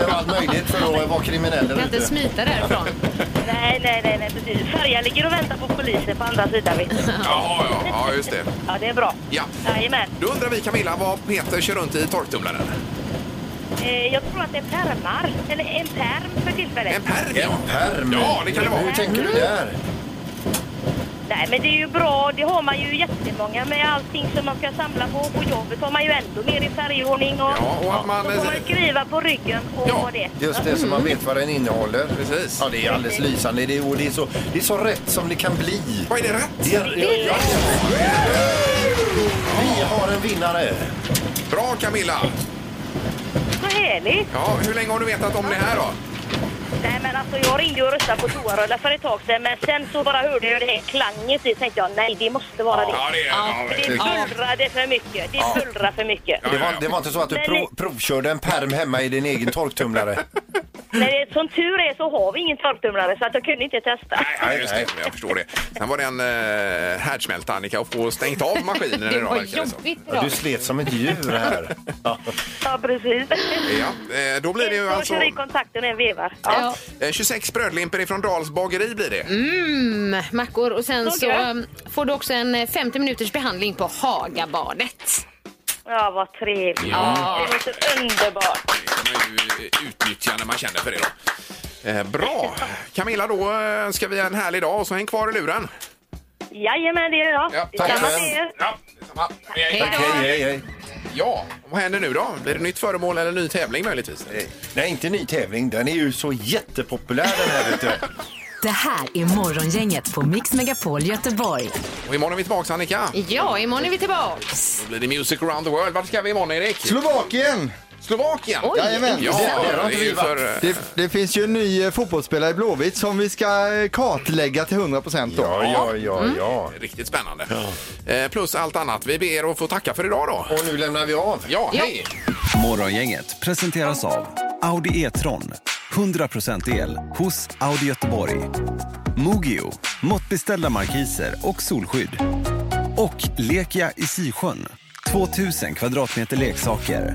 [SPEAKER 5] eh, och allt möjligt för att vara kriminell
[SPEAKER 4] Kan
[SPEAKER 5] där
[SPEAKER 4] inte
[SPEAKER 5] ute.
[SPEAKER 4] smita därifrån.
[SPEAKER 7] [LAUGHS] Nej, nej, nej, nej precis. Färjan ligger och väntar på polisen på andra sidan vet du.
[SPEAKER 3] Jaha, ja. ja, just det.
[SPEAKER 7] Ja, det är bra.
[SPEAKER 3] Ja.
[SPEAKER 7] Jajamän.
[SPEAKER 3] Då undrar vi Camilla vad Peter kör runt i torktumlaren.
[SPEAKER 7] Eh, Jag tror att det är pärmar, eller en pärm för tillfället.
[SPEAKER 3] En pärm, ja.
[SPEAKER 5] Pärm.
[SPEAKER 3] Ja, det kan det vara.
[SPEAKER 5] Hur tänker du där?
[SPEAKER 7] Nej, men det är ju bra. Det har man ju jättemånga med allting som man ska samla på. På jobbet har man ju ändå mer i färgordning och,
[SPEAKER 3] Ja, och att man-
[SPEAKER 7] så får man skriva på ryggen och
[SPEAKER 3] Ja,
[SPEAKER 7] vad det är.
[SPEAKER 5] Just det, så man vet vad den innehåller.
[SPEAKER 3] Precis.
[SPEAKER 5] Ja, det är alldeles lysande. Det är, och det är, så, det är så rätt som det kan bli.
[SPEAKER 3] Vad är det rätt?
[SPEAKER 5] Det är, ja, ja. Vi har en vinnare.
[SPEAKER 3] Bra Camilla!
[SPEAKER 7] Så härligt!
[SPEAKER 3] Ja, hur länge har du vetat om det här då?
[SPEAKER 7] Nej, men alltså jag ringde och röstade på toarullar för ett tag sedan men sen så bara hörde jag det här klanget i tänkte jag nej, det måste vara det.
[SPEAKER 3] Ja, det är... Ja,
[SPEAKER 7] Det
[SPEAKER 3] det-
[SPEAKER 7] bullrade för mycket. Det bullrar för mycket.
[SPEAKER 5] Det var, det var inte så att du pro, provkörde en perm hemma i din egen torktumlare?
[SPEAKER 7] Men det- som tur är så har vi ingen torktumlare så att jag kunde inte testa.
[SPEAKER 3] Nej, ja, just det. Jag förstår det. Sen var det en eh, härdsmälta, Annika, och få stängt av maskinen
[SPEAKER 4] Det
[SPEAKER 3] idag.
[SPEAKER 4] var
[SPEAKER 3] verkar det liksom. som.
[SPEAKER 4] jobbigt
[SPEAKER 5] Ja,
[SPEAKER 4] idag.
[SPEAKER 5] Du slet som ett djur här. Ja.
[SPEAKER 7] Ja, precis.
[SPEAKER 3] Ja, eh, då blir det ju
[SPEAKER 7] Jag
[SPEAKER 3] alltså
[SPEAKER 7] kör i kontakten en vevar.
[SPEAKER 4] Ja.
[SPEAKER 3] eh, 26 brödlimpor ifrån Dals bageri blir det.
[SPEAKER 4] Mm, mackor. Och sen så
[SPEAKER 7] Några.
[SPEAKER 4] um, får du också en eh, 50 minuters behandling på Hagabadet.
[SPEAKER 7] Ja, vad trevligt.
[SPEAKER 4] Ja.
[SPEAKER 7] Det låter underbart.
[SPEAKER 3] Det kan man ju utnyttja när man känner för det då. Eh, bra! Camilla, då eh, ska vi ha en härlig dag och så häng kvar i luren.
[SPEAKER 7] Jajamän, det är jag.
[SPEAKER 3] Ja,
[SPEAKER 7] Det
[SPEAKER 3] tack
[SPEAKER 7] kan man
[SPEAKER 5] själv.
[SPEAKER 7] se.
[SPEAKER 3] Ja, detsamma. Hej
[SPEAKER 4] då.
[SPEAKER 5] Hej, hej, hej.
[SPEAKER 3] Ja, vad händer nu då? Blir det nytt föremål eller ny tävling möjligtvis?
[SPEAKER 5] Eh, Nej, inte ny tävling. Den är ju så jättepopulär den här, vet du.
[SPEAKER 2] Det här är Morgongänget på Mix Megapol Göteborg.
[SPEAKER 3] Och imorgon är vi tillbaka Annika.
[SPEAKER 4] Ja, imorgon är vi tillbaks.
[SPEAKER 3] Då blir det Music around the world. Vart ska vi imorgon Erik?
[SPEAKER 6] Slovakien!
[SPEAKER 3] Slovakien!
[SPEAKER 4] Oj.
[SPEAKER 6] Jajamän.
[SPEAKER 3] Ja,
[SPEAKER 5] Där har
[SPEAKER 3] det
[SPEAKER 5] inte
[SPEAKER 3] är
[SPEAKER 5] vi
[SPEAKER 3] ju
[SPEAKER 5] varit.
[SPEAKER 3] för... eh,
[SPEAKER 6] Det, det finns ju en ny eh, fotbollsspelare i Blåvitt som vi ska eh, kartlägga till 100% då. Mm.
[SPEAKER 5] Ja, ja, ja, ja.
[SPEAKER 3] Riktigt spännande. Eh, Plus allt annat. Vi ber att få tacka för idag då.
[SPEAKER 5] Och nu lämnar vi av.
[SPEAKER 3] Ja, hej!
[SPEAKER 10] Morgongänget presenteras av Audi E-tron. 100% el hos Audi Göteborg. Mogio, måttbeställda markiser och solskydd. Och Lekia i Sisjön, 2000 kvadratmeter leksaker.